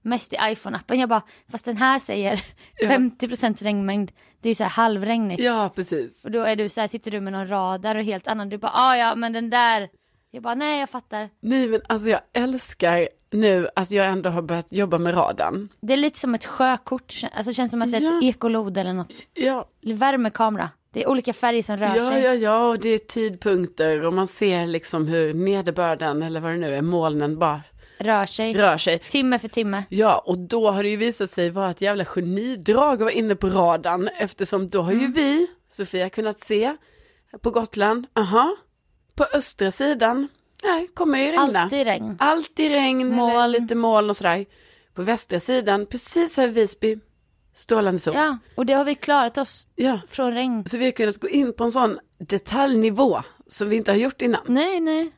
Speaker 2: mest i iPhone-appen. Jag bara, fast den här säger 50% regnmängd. Det är ju så här halvregnigt.
Speaker 1: Ja, precis.
Speaker 2: Och då är du så här, sitter du med någon radar och helt annan. Du bara, ah, ja men den där. Jag bara, nej jag fattar.
Speaker 1: Nej, men alltså jag älskar nu att jag ändå har börjat jobba med radarn.
Speaker 2: Det är lite som ett sjökort. Alltså det känns som att det är
Speaker 1: Ja.
Speaker 2: ett ekolod eller något.
Speaker 1: Ja,
Speaker 2: Eller Värmekamera. Det är olika färger som rör
Speaker 1: ja,
Speaker 2: sig.
Speaker 1: ja, ja, och det är tidpunkter och man ser liksom hur nederbörden eller vad det nu är, molnen bara
Speaker 2: Rör sig.
Speaker 1: rör sig.
Speaker 2: Timme för timme.
Speaker 1: Ja, och då har det ju visat sig vara ett jävla genidrag att vara inne på radarn eftersom då har ju
Speaker 2: Mm.
Speaker 1: vi, Sofia, kunnat se på Gotland, aha, på östra sidan, nej, kommer det ju regna.
Speaker 2: Alltid regn.
Speaker 1: Alltid regn, eller
Speaker 2: Moln.
Speaker 1: lite moln och sådär. På västra sidan, precis här i Visby, strålande sol.
Speaker 2: Ja, och det har vi klarat oss
Speaker 1: ja.
Speaker 2: från regn.
Speaker 1: Så vi har kunnat gå in på en sån detaljnivå som vi inte har gjort innan.
Speaker 2: Nej, nej.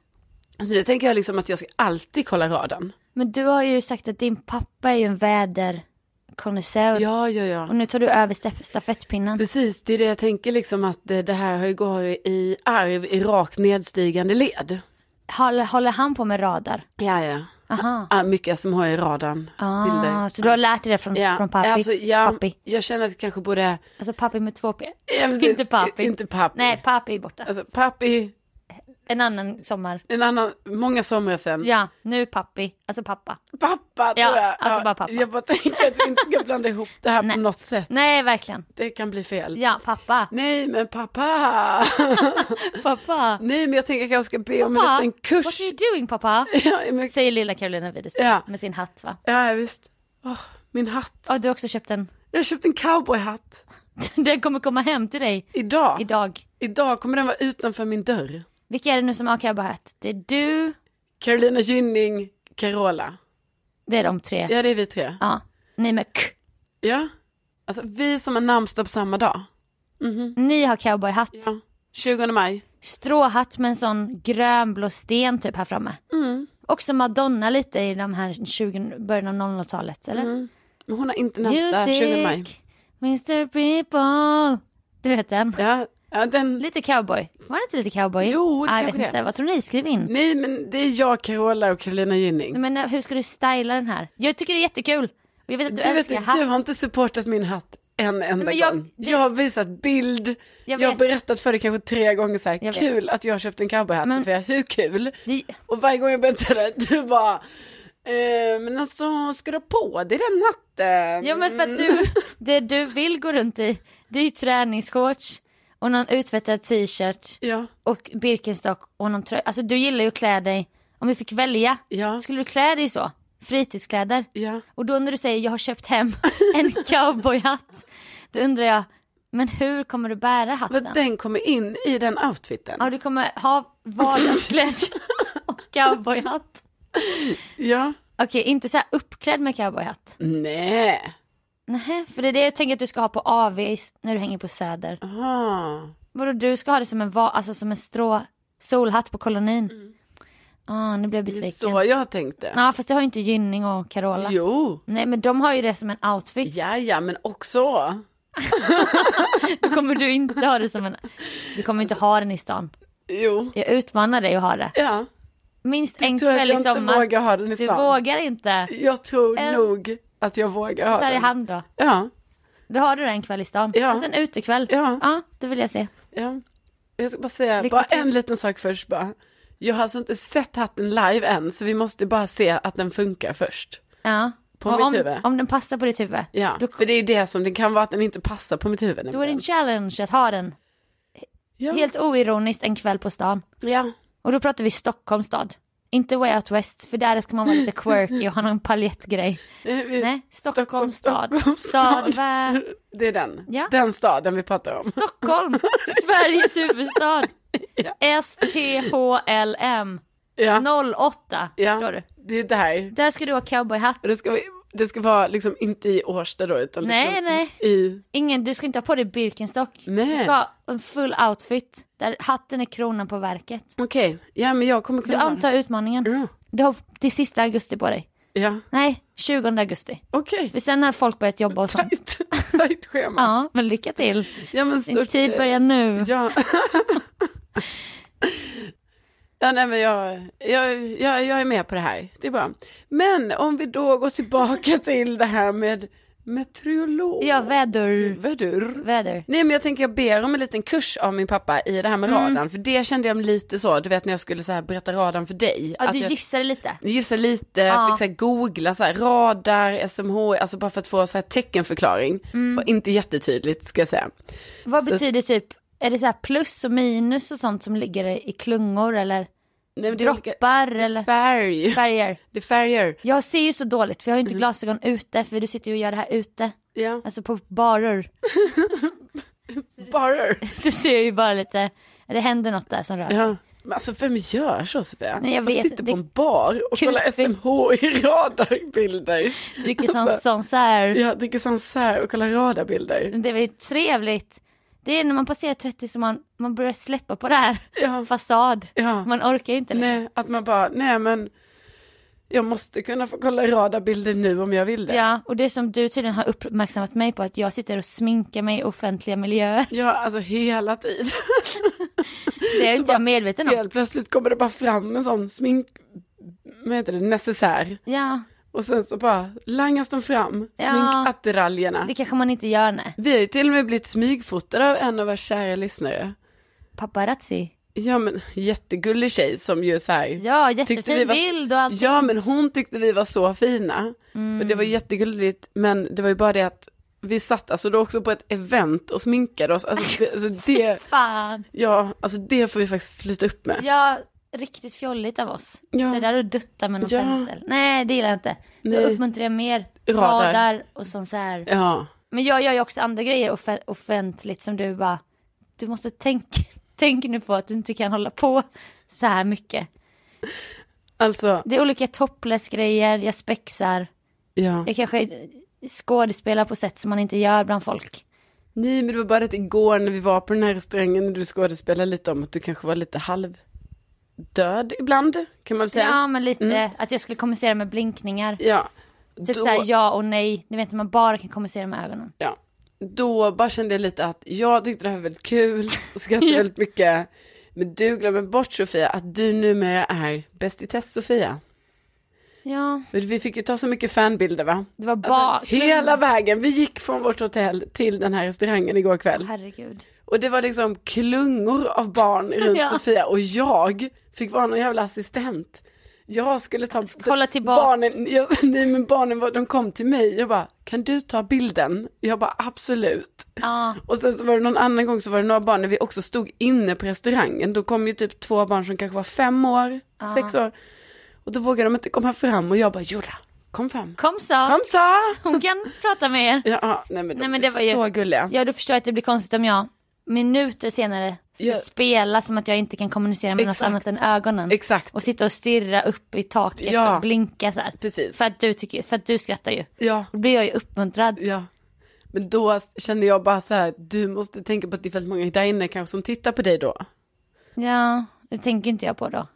Speaker 1: Så nu tänker jag liksom att jag ska alltid kolla radarn.
Speaker 2: Men du har ju sagt att din pappa är ju en väderkonnässör.
Speaker 1: Ja, ja, ja.
Speaker 2: Och nu tar du över sta- stafettpinnen.
Speaker 1: Precis, det är det jag tänker liksom att det, det här har ju gått i arv i rakt nedstigande led.
Speaker 2: Håller, håller han på med radar?
Speaker 1: Ja, ja.
Speaker 2: Aha.
Speaker 1: Ah, mycket som har i radarn.
Speaker 2: Ah,
Speaker 1: bilder.
Speaker 2: så du har lärt dig det från,
Speaker 1: Ja,
Speaker 2: från pappi?
Speaker 1: Alltså, ja,
Speaker 2: pappi?
Speaker 1: Jag känner att jag kanske borde...
Speaker 2: Alltså pappi med två p?
Speaker 1: Ja, precis.
Speaker 2: Inte pappi.
Speaker 1: Inte pappi.
Speaker 2: Nej, pappi är borta.
Speaker 1: Alltså pappi,
Speaker 2: En annan sommar.
Speaker 1: En annan, många somrar sen.
Speaker 2: Ja, nu pappi. Alltså pappa.
Speaker 1: Pappa
Speaker 2: Ja,
Speaker 1: tror jag.
Speaker 2: alltså bara pappa.
Speaker 1: Jag bara tänker att vi inte ska blanda ihop det här
Speaker 2: Nej.
Speaker 1: på något sätt.
Speaker 2: Nej, verkligen.
Speaker 1: Det kan bli fel.
Speaker 2: Ja, pappa.
Speaker 1: Nej men pappa.
Speaker 2: Pappa.
Speaker 1: Nej men jag tänker att jag ska be om en
Speaker 2: Pappa,
Speaker 1: liten
Speaker 2: What
Speaker 1: kurs.
Speaker 2: are you doing pappa?
Speaker 1: Ja, men,
Speaker 2: Säger lilla Carolina Widerström
Speaker 1: Ja.
Speaker 2: med sin hatt va?
Speaker 1: ja visst. Åh, min hatt.
Speaker 2: Ja, du har också köpt en.
Speaker 1: Jag har köpt en cowboyhatt.
Speaker 2: Den kommer komma hem till dig
Speaker 1: Idag.
Speaker 2: idag.
Speaker 1: Idag kommer den vara utanför min dörr.
Speaker 2: Vilka är det nu som har cowboyhatt? Det är du,
Speaker 1: Carolina Gynning, Carola.
Speaker 2: det är de tre.
Speaker 1: Ja det är vi tre.
Speaker 2: Ja, ni med k.
Speaker 1: Ja. Alltså vi som har namnsdag på samma dag.
Speaker 2: Ni har cowboyhatt.
Speaker 1: Ja. 20 maj.
Speaker 2: Stråhatt med en sån grönblå sten typ här framme.
Speaker 1: Mm.
Speaker 2: Också Madonna lite i de här 20, början av 00-talet eller?
Speaker 1: Mm, Men hon har inte namnsdag 20 maj.
Speaker 2: Music, Mr People. Du vet den?
Speaker 1: Ja, ja den...
Speaker 2: Lite cowboy. Var det inte lite cowboy?
Speaker 1: Jo, det
Speaker 2: ah, jag vet
Speaker 1: kanske
Speaker 2: inte.
Speaker 1: det.
Speaker 2: Vad tror ni? Skriv in.
Speaker 1: Nej men det är jag, Carola och Carolina Gynning.
Speaker 2: Men eh, hur ska du styla den här? Jag tycker det är jättekul. Och jag vet att du,
Speaker 1: Du, vet,
Speaker 2: älskar
Speaker 1: att
Speaker 2: hatt.
Speaker 1: du har inte supportat min hatt en enda
Speaker 2: men jag-
Speaker 1: gång.
Speaker 2: det-
Speaker 1: Jag har visat bild,
Speaker 2: Jag
Speaker 1: jag,
Speaker 2: vet.
Speaker 1: har berättat för dig kanske tre gånger så här,
Speaker 2: Jag vet.
Speaker 1: kul att jag har köpt en cowboyhatt,
Speaker 2: Men-
Speaker 1: men... för jag, hur kul?
Speaker 2: Det-
Speaker 1: Och varje gång jag berättade det, du bara, eh, men alltså ska du ha på dig den hatten?
Speaker 2: Ja men för att
Speaker 1: Mm.
Speaker 2: du, det du vill gå runt i, det är ju träningsshorts och någon utvättad t-shirt
Speaker 1: Ja,
Speaker 2: och Birkenstock och någon tröja. Alltså du gillar ju att klä dig, om vi fick välja,
Speaker 1: ja,
Speaker 2: skulle du klä dig så? Fritidskläder.
Speaker 1: ja.
Speaker 2: Och då när du säger jag har köpt hem en cowboyhatt, då undrar jag, men hur kommer du bära hatten?
Speaker 1: Men den kommer in i den outfiten.
Speaker 2: Ja, du kommer ha vardagskläder och cowboyhatt.
Speaker 1: Ja.
Speaker 2: Okej, inte så här uppklädd med cowboyhatt.
Speaker 1: Nej.
Speaker 2: Nej, för det är det jag tänker att du ska ha på AV när du hänger på Söder.
Speaker 1: Aha.
Speaker 2: Vadå, du ska ha det som en, va- alltså, som en strå solhatt på kolonin? Ah, nu blev jag
Speaker 1: Mm. Det är
Speaker 2: besviken.
Speaker 1: så
Speaker 2: Ja,
Speaker 1: jag tänkte.
Speaker 2: fast det har ju inte Gynning och Carola.
Speaker 1: Jo.
Speaker 2: Nej, men de har ju det som en outfit.
Speaker 1: Ja, ja, men också.
Speaker 2: Då kommer du inte ha det som en... Du kommer inte ha den i stan.
Speaker 1: Jo.
Speaker 2: Jag utmanar dig att ha det.
Speaker 1: Ja.
Speaker 2: Minst en
Speaker 1: Jag tror att
Speaker 2: kväll i
Speaker 1: jag inte
Speaker 2: sommar.
Speaker 1: vågar ha den i
Speaker 2: liksom du
Speaker 1: stan.
Speaker 2: vågar inte.
Speaker 1: Jag tror
Speaker 2: En-
Speaker 1: nog att jag vågar ha
Speaker 2: Ta det i
Speaker 1: den.
Speaker 2: hand då.
Speaker 1: Ja,
Speaker 2: Då har du den en kväll i stan.
Speaker 1: Ja.
Speaker 2: Alltså en utekväll.
Speaker 1: Ja.
Speaker 2: det vill jag se.
Speaker 1: ja. Jag ska bara säga,
Speaker 2: Lycka
Speaker 1: bara
Speaker 2: till.
Speaker 1: en liten sak först bara. Jag har alltså inte sett hatten live än, så vi måste bara se att den funkar först.
Speaker 2: Ja.
Speaker 1: På
Speaker 2: Och
Speaker 1: mitt
Speaker 2: om,
Speaker 1: huvud.
Speaker 2: Om den passar på ditt huvud.
Speaker 1: Ja,
Speaker 2: Då,
Speaker 1: för det är ju det som, det kan vara att den inte passar på mitt huvud.
Speaker 2: då är det en
Speaker 1: nämligen.
Speaker 2: challenge att ha den.
Speaker 1: ja.
Speaker 2: Helt oironiskt en kväll på stan.
Speaker 1: ja.
Speaker 2: Och då pratar vi Stockholms stad. Inte Way Out West, för där ska man vara lite quirky och ha någon paljettgrej.
Speaker 1: Nej, Eh, vi-
Speaker 2: Nej, Stockholms stad.
Speaker 1: Stockholms
Speaker 2: Stad,
Speaker 1: stad.
Speaker 2: va?
Speaker 1: Det är den.
Speaker 2: Ja.
Speaker 1: Den staden vi pratar om.
Speaker 2: Stockholm, Sveriges huvudstad.
Speaker 1: Ja.
Speaker 2: S-T-H-L-M.
Speaker 1: Ja,
Speaker 2: 08,
Speaker 1: Ja.
Speaker 2: förstår du.
Speaker 1: det är där.
Speaker 2: Där ska du ha cowboyhatt.
Speaker 1: Och det ska, vi, det ska vara liksom inte i Årsta då, utan
Speaker 2: Nej,
Speaker 1: liksom
Speaker 2: nej.
Speaker 1: i...
Speaker 2: Ingen, du ska inte ha på dig Birkenstock. Du
Speaker 1: Nej.
Speaker 2: ska ha en full outfit där hatten är kronan på verket.
Speaker 1: Okej, ja men jag kommer
Speaker 2: Du
Speaker 1: kunna... ha den.
Speaker 2: antar utmaningen.
Speaker 1: Ja,
Speaker 2: Du har till sista augusti på dig.
Speaker 1: ja.
Speaker 2: Nej, 20 augusti.
Speaker 1: okej.
Speaker 2: För sen har folk börjat jobba och sånt.
Speaker 1: Tajt, tajt schema.
Speaker 2: Ja, men lycka till.
Speaker 1: Ja, men
Speaker 2: Din
Speaker 1: stort, eh,
Speaker 2: tid börjar nu.
Speaker 1: Ja. ja, nej men jag, jag, jag, jag är med på det här. Det är bra. Men om vi då går tillbaka till det här med meteorolog.
Speaker 2: Ja, väder.
Speaker 1: Vädur.
Speaker 2: Väder.
Speaker 1: Nej men jag tänker jag ber om en liten kurs av min pappa i det här med
Speaker 2: Mm.
Speaker 1: radarn. För det kände jag mig lite så, du vet när jag skulle så här berätta radarn för dig.
Speaker 2: Ja,
Speaker 1: att
Speaker 2: du
Speaker 1: jag-
Speaker 2: gissade lite.
Speaker 1: Gissa lite,
Speaker 2: Ja.
Speaker 1: fick så här googla så här, radar, SMH, alltså bara för att få så här teckenförklaring.
Speaker 2: Mm.
Speaker 1: Var inte jättetydligt ska jag säga.
Speaker 2: Vad
Speaker 1: Så-
Speaker 2: betyder typ, är det så här plus och minus och sånt som ligger i klungor eller
Speaker 1: Nej, men det är olika-
Speaker 2: droppar
Speaker 1: det är
Speaker 2: eller
Speaker 1: färg.
Speaker 2: färger?
Speaker 1: Det är färger.
Speaker 2: Jag ser ju så dåligt för jag har ju
Speaker 1: Mm.
Speaker 2: inte glasögon ute för du sitter ju och gör det här ute.
Speaker 1: Ja.
Speaker 2: Alltså på barer.
Speaker 1: Barer.
Speaker 2: Du ser ju bara lite, det händer något där som rör sig.
Speaker 1: Ja. Men alltså vem gör så Sofia?
Speaker 2: Nej, jag
Speaker 1: Man
Speaker 2: vet,
Speaker 1: sitter
Speaker 2: det-
Speaker 1: på en bar och
Speaker 2: Kul
Speaker 1: kollar
Speaker 2: film.
Speaker 1: SMH i radarbilder.
Speaker 2: Dricker sån, sån så här.
Speaker 1: Jag dricker sansär och kollar radarbilder.
Speaker 2: Det är väl trevligt. Det är när man passerar 30 som man, man börjar släppa på det här.
Speaker 1: Ja.
Speaker 2: Fasad.
Speaker 1: Ja.
Speaker 2: Man orkar ju inte längre.
Speaker 1: Nej, att man bara, nej men jag måste kunna få kolla radarbilder nu om jag vill det.
Speaker 2: Ja, och det som du tydligen har uppmärksammat mig på att jag sitter och sminkar mig i offentliga miljöer.
Speaker 1: Ja, alltså hela tiden.
Speaker 2: Det är inte jag medveten om.
Speaker 1: Helt plötsligt kommer det bara fram en sån smink, vad heter det, necessär.
Speaker 2: Ja,
Speaker 1: Och sen så bara langas de fram,
Speaker 2: Ja.
Speaker 1: sminkattiraljerna.
Speaker 2: det kanske man inte gör nej.
Speaker 1: Vi har ju till och med blivit smygfotade av en av våra kära lyssnare.
Speaker 2: Paparazzi.
Speaker 1: Ja men jättegullig tjej som ju så här,
Speaker 2: Ja, alltså-
Speaker 1: Tyckte
Speaker 2: jättefin
Speaker 1: vi var-
Speaker 2: bild och allt.
Speaker 1: Ja men hon tyckte vi var så fina. Och
Speaker 2: Mm.
Speaker 1: det var jättegulligt men det var ju bara det att vi satt alltså då också på ett event och sminkade oss. Alltså, det- alltså, det,
Speaker 2: Fan.
Speaker 1: ja, alltså det får vi faktiskt sluta upp med.
Speaker 2: Ja, riktigt fjolligt av oss.
Speaker 1: Ja.
Speaker 2: Det där att dutta med någon
Speaker 1: Ja.
Speaker 2: pensel. Nej, det gillar jag inte. Då
Speaker 1: Nej.
Speaker 2: uppmuntrar jag mer
Speaker 1: Radar.
Speaker 2: radar, och sånt så här.
Speaker 1: Ja,
Speaker 2: Men jag gör ju också andra grejer off- offentligt som du bara, du måste tänka, tänk nu på att du inte kan hålla på så här mycket.
Speaker 1: alltså,
Speaker 2: Det är olika topless-grejer, jag spexar,
Speaker 1: ja.
Speaker 2: jag kanske skådespelar på sätt som man inte gör bland folk.
Speaker 1: Nej men det var bara det att igår när vi var på den här restaurangen och du skådespelade lite om att du kanske var lite halv död ibland kan man väl säga.
Speaker 2: Ja, men lite att jag skulle kommunicera med blinkningar.
Speaker 1: Ja.
Speaker 2: Typ
Speaker 1: Då-
Speaker 2: så här ja och nej, ni vet man bara kan kommunicera med ögonen.
Speaker 1: Ja. Då bara kände jag lite att jag tyckte det här var väldigt kul och skrattade väldigt mycket. Men du glömmer bort Sofia att du numera är bäst i test Sofia.
Speaker 2: Ja,
Speaker 1: För Vi fick ju ta så mycket fanbilder va?
Speaker 2: det var bara...
Speaker 1: Alltså, hela vägen, vi gick från vårt hotell till den här restaurangen igår kväll.
Speaker 2: Herregud.
Speaker 1: Och det var liksom klungor av barn runt
Speaker 2: Ja.
Speaker 1: Sofia och jag fick vara någon jävla assistent. Jag skulle ta
Speaker 2: Kolla tillbaka.
Speaker 1: barnen, jag, nej men barnen var, de kom till mig, jag bara, kan du ta bilden? Jag bara, absolut.
Speaker 2: Ja,
Speaker 1: Och sen så var det någon annan gång så var det några barn när vi också stod inne på restaurangen. Då kom ju typ två barn som kanske var fem år,
Speaker 2: Ah.
Speaker 1: sex år. Och då vågade de inte komma fram och jag bara, jodå, kom fram.
Speaker 2: kom så.
Speaker 1: Kom så!
Speaker 2: Hon kan prata med er.
Speaker 1: Ja, ah, nej men de
Speaker 2: Nej, men
Speaker 1: är
Speaker 2: det var ju-
Speaker 1: så gulliga.
Speaker 2: Ja, då förstår jag att det blir konstigt om jag minuter senare ska
Speaker 1: Ja.
Speaker 2: spela som att jag inte kan kommunicera med
Speaker 1: Exakt.
Speaker 2: något annat än ögonen.
Speaker 1: Exakt.
Speaker 2: Och sitta och stirra upp i taket
Speaker 1: Ja.
Speaker 2: och blinka så här.
Speaker 1: Precis.
Speaker 2: För att du, tycker, för att du skrattar ju.
Speaker 1: Ja.
Speaker 2: Då blir jag ju uppmuntrad.
Speaker 1: Ja. Men då kände jag bara så här, du måste tänka på att det är väldigt många där inne kanske som tittar på dig då.
Speaker 2: Ja, det tänker inte jag på då.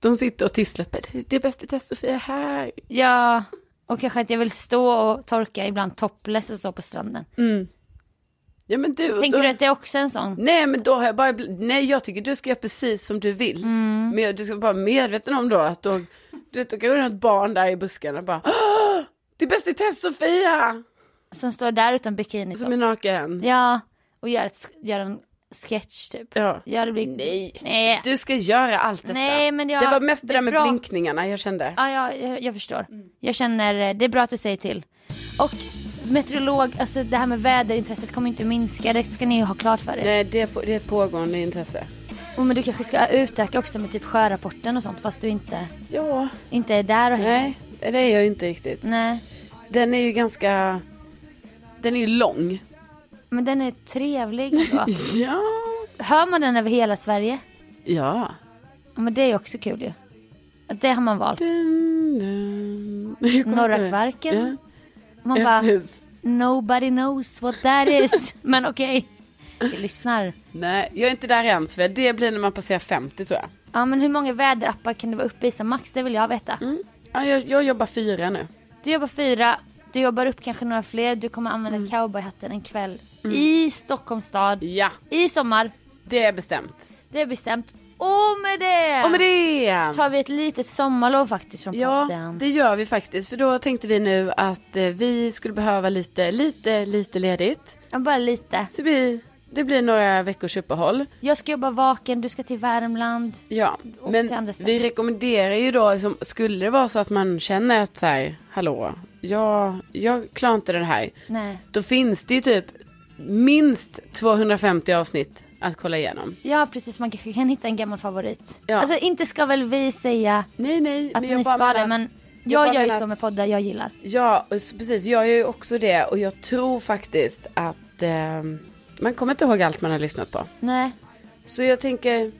Speaker 1: De sitter och tisslar på dig, det är bäst i test Sofia här.
Speaker 2: Ja, och kanske att jag vill stå och torka ibland topless och så på stranden.
Speaker 1: Mm. Ja men du,
Speaker 2: Tänker
Speaker 1: då,
Speaker 2: du att det är också en sån?
Speaker 1: nej men då har jag bara, bl- nej jag tycker du ska göra precis som du vill.
Speaker 2: Mm.
Speaker 1: Men jag- du ska vara medveten om då att då, du vet då kan det vara något barn där i buskarna och bara, "Åh, det är bäst i test Sofia!
Speaker 2: Som står där utan bikini.
Speaker 1: Som är naken.
Speaker 2: Ja, och gör, ett, gör en sketch typ.
Speaker 1: Ja.
Speaker 2: Ja, det blir...
Speaker 1: Nej.
Speaker 2: Nej.
Speaker 1: Du ska göra allt detta.
Speaker 2: Nej, men jag-
Speaker 1: det var mest det
Speaker 2: det är
Speaker 1: där med
Speaker 2: bra.
Speaker 1: blinkningarna jag kände.
Speaker 2: Ja, ja, jag, jag förstår.
Speaker 1: Mm.
Speaker 2: Jag känner, eh, det är bra att du säger till. Och meteorolog, alltså det här med väderintresset kommer inte minska, det ska ni ju ha klart för er.
Speaker 1: Nej det är, på, det är ett pågående intresse.
Speaker 2: Och men du kanske ska utöka också med typ sjörapporten och sånt fast du inte,
Speaker 1: Ja.
Speaker 2: inte är där och hänger.
Speaker 1: Nej, det är jag inte riktigt.
Speaker 2: Nej.
Speaker 1: Den är ju ganska... Den är ju lång.
Speaker 2: Men den är trevlig ändå.
Speaker 1: Ja.
Speaker 2: Hör man den över hela Sverige?
Speaker 1: Ja.
Speaker 2: Ja, Men det är ju också kul ju. Att Det har man valt.
Speaker 1: Dun, dun. Jag kommer
Speaker 2: Norra
Speaker 1: inte ihåg.
Speaker 2: Kvarken. Man
Speaker 1: Ja.
Speaker 2: bara,
Speaker 1: Ja.
Speaker 2: nobody knows what that is. Men okej, vi lyssnar.
Speaker 1: Nej, jag är inte där än Sofia. Det blir när man passerar 50 tror jag.
Speaker 2: Ja men hur många väderappar kan du vara uppe i som max? Det vill jag veta.
Speaker 1: Mm. Ja, jag, jag jobbar fyra nu.
Speaker 2: Du jobbar fyra, du jobbar upp kanske några fler, du kommer använda
Speaker 1: Mm.
Speaker 2: cowboyhatten en kväll i Stockholms stad
Speaker 1: Ja,
Speaker 2: i sommar.
Speaker 1: det är bestämt.
Speaker 2: Det är bestämt. Och med det,
Speaker 1: Och med det!
Speaker 2: tar vi ett litet sommarlov faktiskt från
Speaker 1: Ja,
Speaker 2: podden.
Speaker 1: det gör vi faktiskt. För då tänkte vi nu att eh, vi skulle behöva lite, lite, lite ledigt.
Speaker 2: Ja, bara lite.
Speaker 1: Så det blir, det blir några veckors uppehåll.
Speaker 2: Jag ska jobba vaken, du ska till Värmland.
Speaker 1: Ja,
Speaker 2: Och till
Speaker 1: men
Speaker 2: andra ställen.
Speaker 1: vi rekommenderar ju då, liksom, skulle det vara så att man känner att så här, hallå, jag, jag klarar inte det här.
Speaker 2: Nej.
Speaker 1: Då finns det ju typ minst 250 avsnitt att kolla igenom.
Speaker 2: Ja precis, man kanske kan hitta en gammal favorit.
Speaker 1: Ja.
Speaker 2: Alltså inte ska väl vi säga
Speaker 1: Nej, nej,
Speaker 2: att ni
Speaker 1: bara
Speaker 2: ska det
Speaker 1: menar-
Speaker 2: men
Speaker 1: jag bara
Speaker 2: jag, gör ju
Speaker 1: menar
Speaker 2: så
Speaker 1: att-
Speaker 2: med poddar jag gillar.
Speaker 1: Ja, och s- precis, jag gör ju också det och jag tror faktiskt att eh, man kommer inte ihåg allt man har lyssnat på.
Speaker 2: Nej,
Speaker 1: Så jag tänker,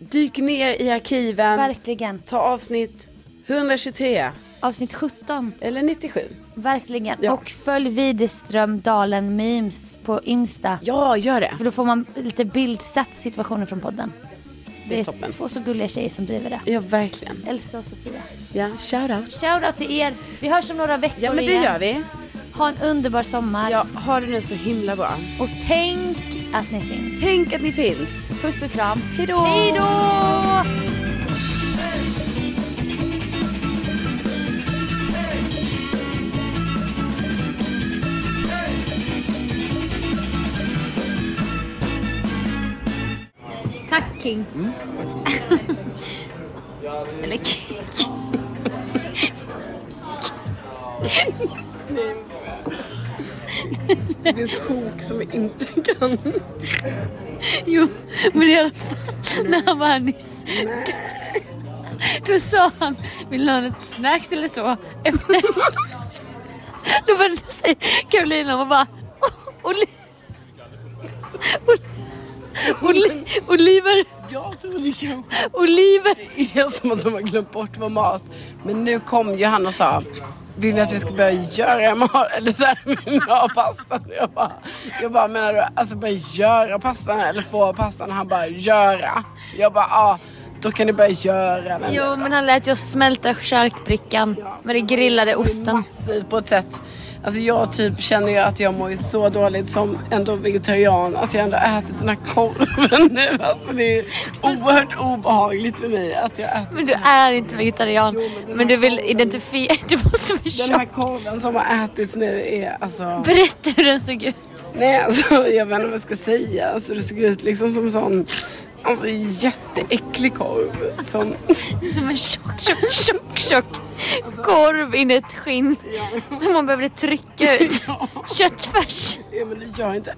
Speaker 1: dyk ner i arkiven,
Speaker 2: verkligen.
Speaker 1: ta avsnitt 123
Speaker 2: Avsnitt 17.
Speaker 1: eller 97.
Speaker 2: Verkligen.
Speaker 1: Ja.
Speaker 2: Och följ Widerström Dalen Memes på Insta.
Speaker 1: Ja, gör det.
Speaker 2: För då får man lite bildsatt situationer från podden.
Speaker 1: Det är
Speaker 2: Det är
Speaker 1: toppen.
Speaker 2: två så gulliga tjejer som driver det.
Speaker 1: Ja, verkligen.
Speaker 2: Elsa och Sofia.
Speaker 1: Ja, shout out.
Speaker 2: Shoutout till er. Vi hörs om några veckor
Speaker 1: Ja men det
Speaker 2: igen.
Speaker 1: gör vi.
Speaker 2: Ha en underbar sommar.
Speaker 1: Ja, ha det nu så himla bra.
Speaker 2: Och tänk att ni finns.
Speaker 1: Tänk att ni finns.
Speaker 2: Puss och kram.
Speaker 1: Hejdå!
Speaker 2: Hej då!
Speaker 3: Tack King. Eller King.
Speaker 1: Det finns sjok som jag inte kan.
Speaker 3: Jo, men i alla fall när han var här nyss. Då sa han, vill du ha något snacks eller så? Efter. Då var det säga Carolina och bara, "Åh, Oli- Oli- Oli- Oliver,
Speaker 1: Jag tror det kanske
Speaker 3: Oliver.
Speaker 1: är som att de har glömt bort vår mat. Men nu kom ju han och sa vill ni att vi ska börja göra mat? Eller så här, men ha pastan. Jag bara, jag bara, menar du alltså börja göra pastan eller få pastan? Han bara, göra. Jag bara, ja, ah, då kan ni börja göra den.
Speaker 3: Jo, men han lät ju oss smälta charkbrickan med den grillade osten.
Speaker 1: massiv på ett sätt. Alltså jag typ känner ju att jag mår ju så dåligt som ändå vegetarian att jag ändå ätit den här korven nu. Alltså det är oerhört obehagligt för mig att jag äter
Speaker 3: Men du är inte vegetarian.
Speaker 1: Jo, men den
Speaker 3: Men du
Speaker 1: här
Speaker 3: vill
Speaker 1: korven-
Speaker 3: identifiera... Du måste
Speaker 1: den här
Speaker 3: försöka.
Speaker 1: korven som har ätits nu är alltså...
Speaker 3: Berätta hur den såg ut.
Speaker 1: Nej alltså jag vet inte vad jag ska säga. Alltså det såg ut liksom som en sån alltså, jätteäcklig korv. Som,
Speaker 3: Som en tjock, tjock, tjock, tjock korv in i ett skinn. Som man behövde trycka ut. Köttfärs.
Speaker 1: jag, menar, jag har inte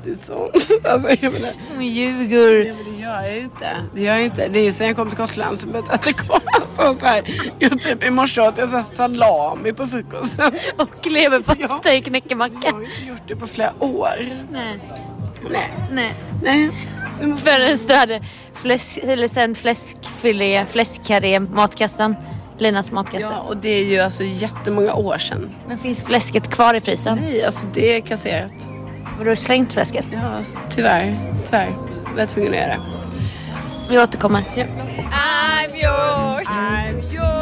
Speaker 1: ätit sånt. Alltså, jag menar,
Speaker 3: Hon ljuger.
Speaker 1: Ja, men det gör jag ju inte. Det gör jag ju inte. Det är ju sen jag kom till Gotland som jag äter korv. Alltså, så här, jag typ i morse åt jag så här salami på frukosten.
Speaker 3: Och leverpastej i
Speaker 1: Jag har
Speaker 3: knäckemacka.
Speaker 1: ju inte gjort det på flera år.
Speaker 3: Nej.
Speaker 1: Nej.
Speaker 3: Nej.
Speaker 1: Nej.
Speaker 3: Förrän du hade fläsk, eller sen fläskfilé, fläskkarré, matkassan. Linas matkasse.
Speaker 1: Ja, och det är ju alltså jättemånga år sedan.
Speaker 3: Men finns fläsket kvar i frysen?
Speaker 1: Nej, alltså det är kasserat.
Speaker 3: Och du har slängt fläsket?
Speaker 1: Ja, tyvärr. Tyvärr. Jag var tvungen att göra det.
Speaker 3: Vi återkommer.
Speaker 5: I'm yours. I'm yours.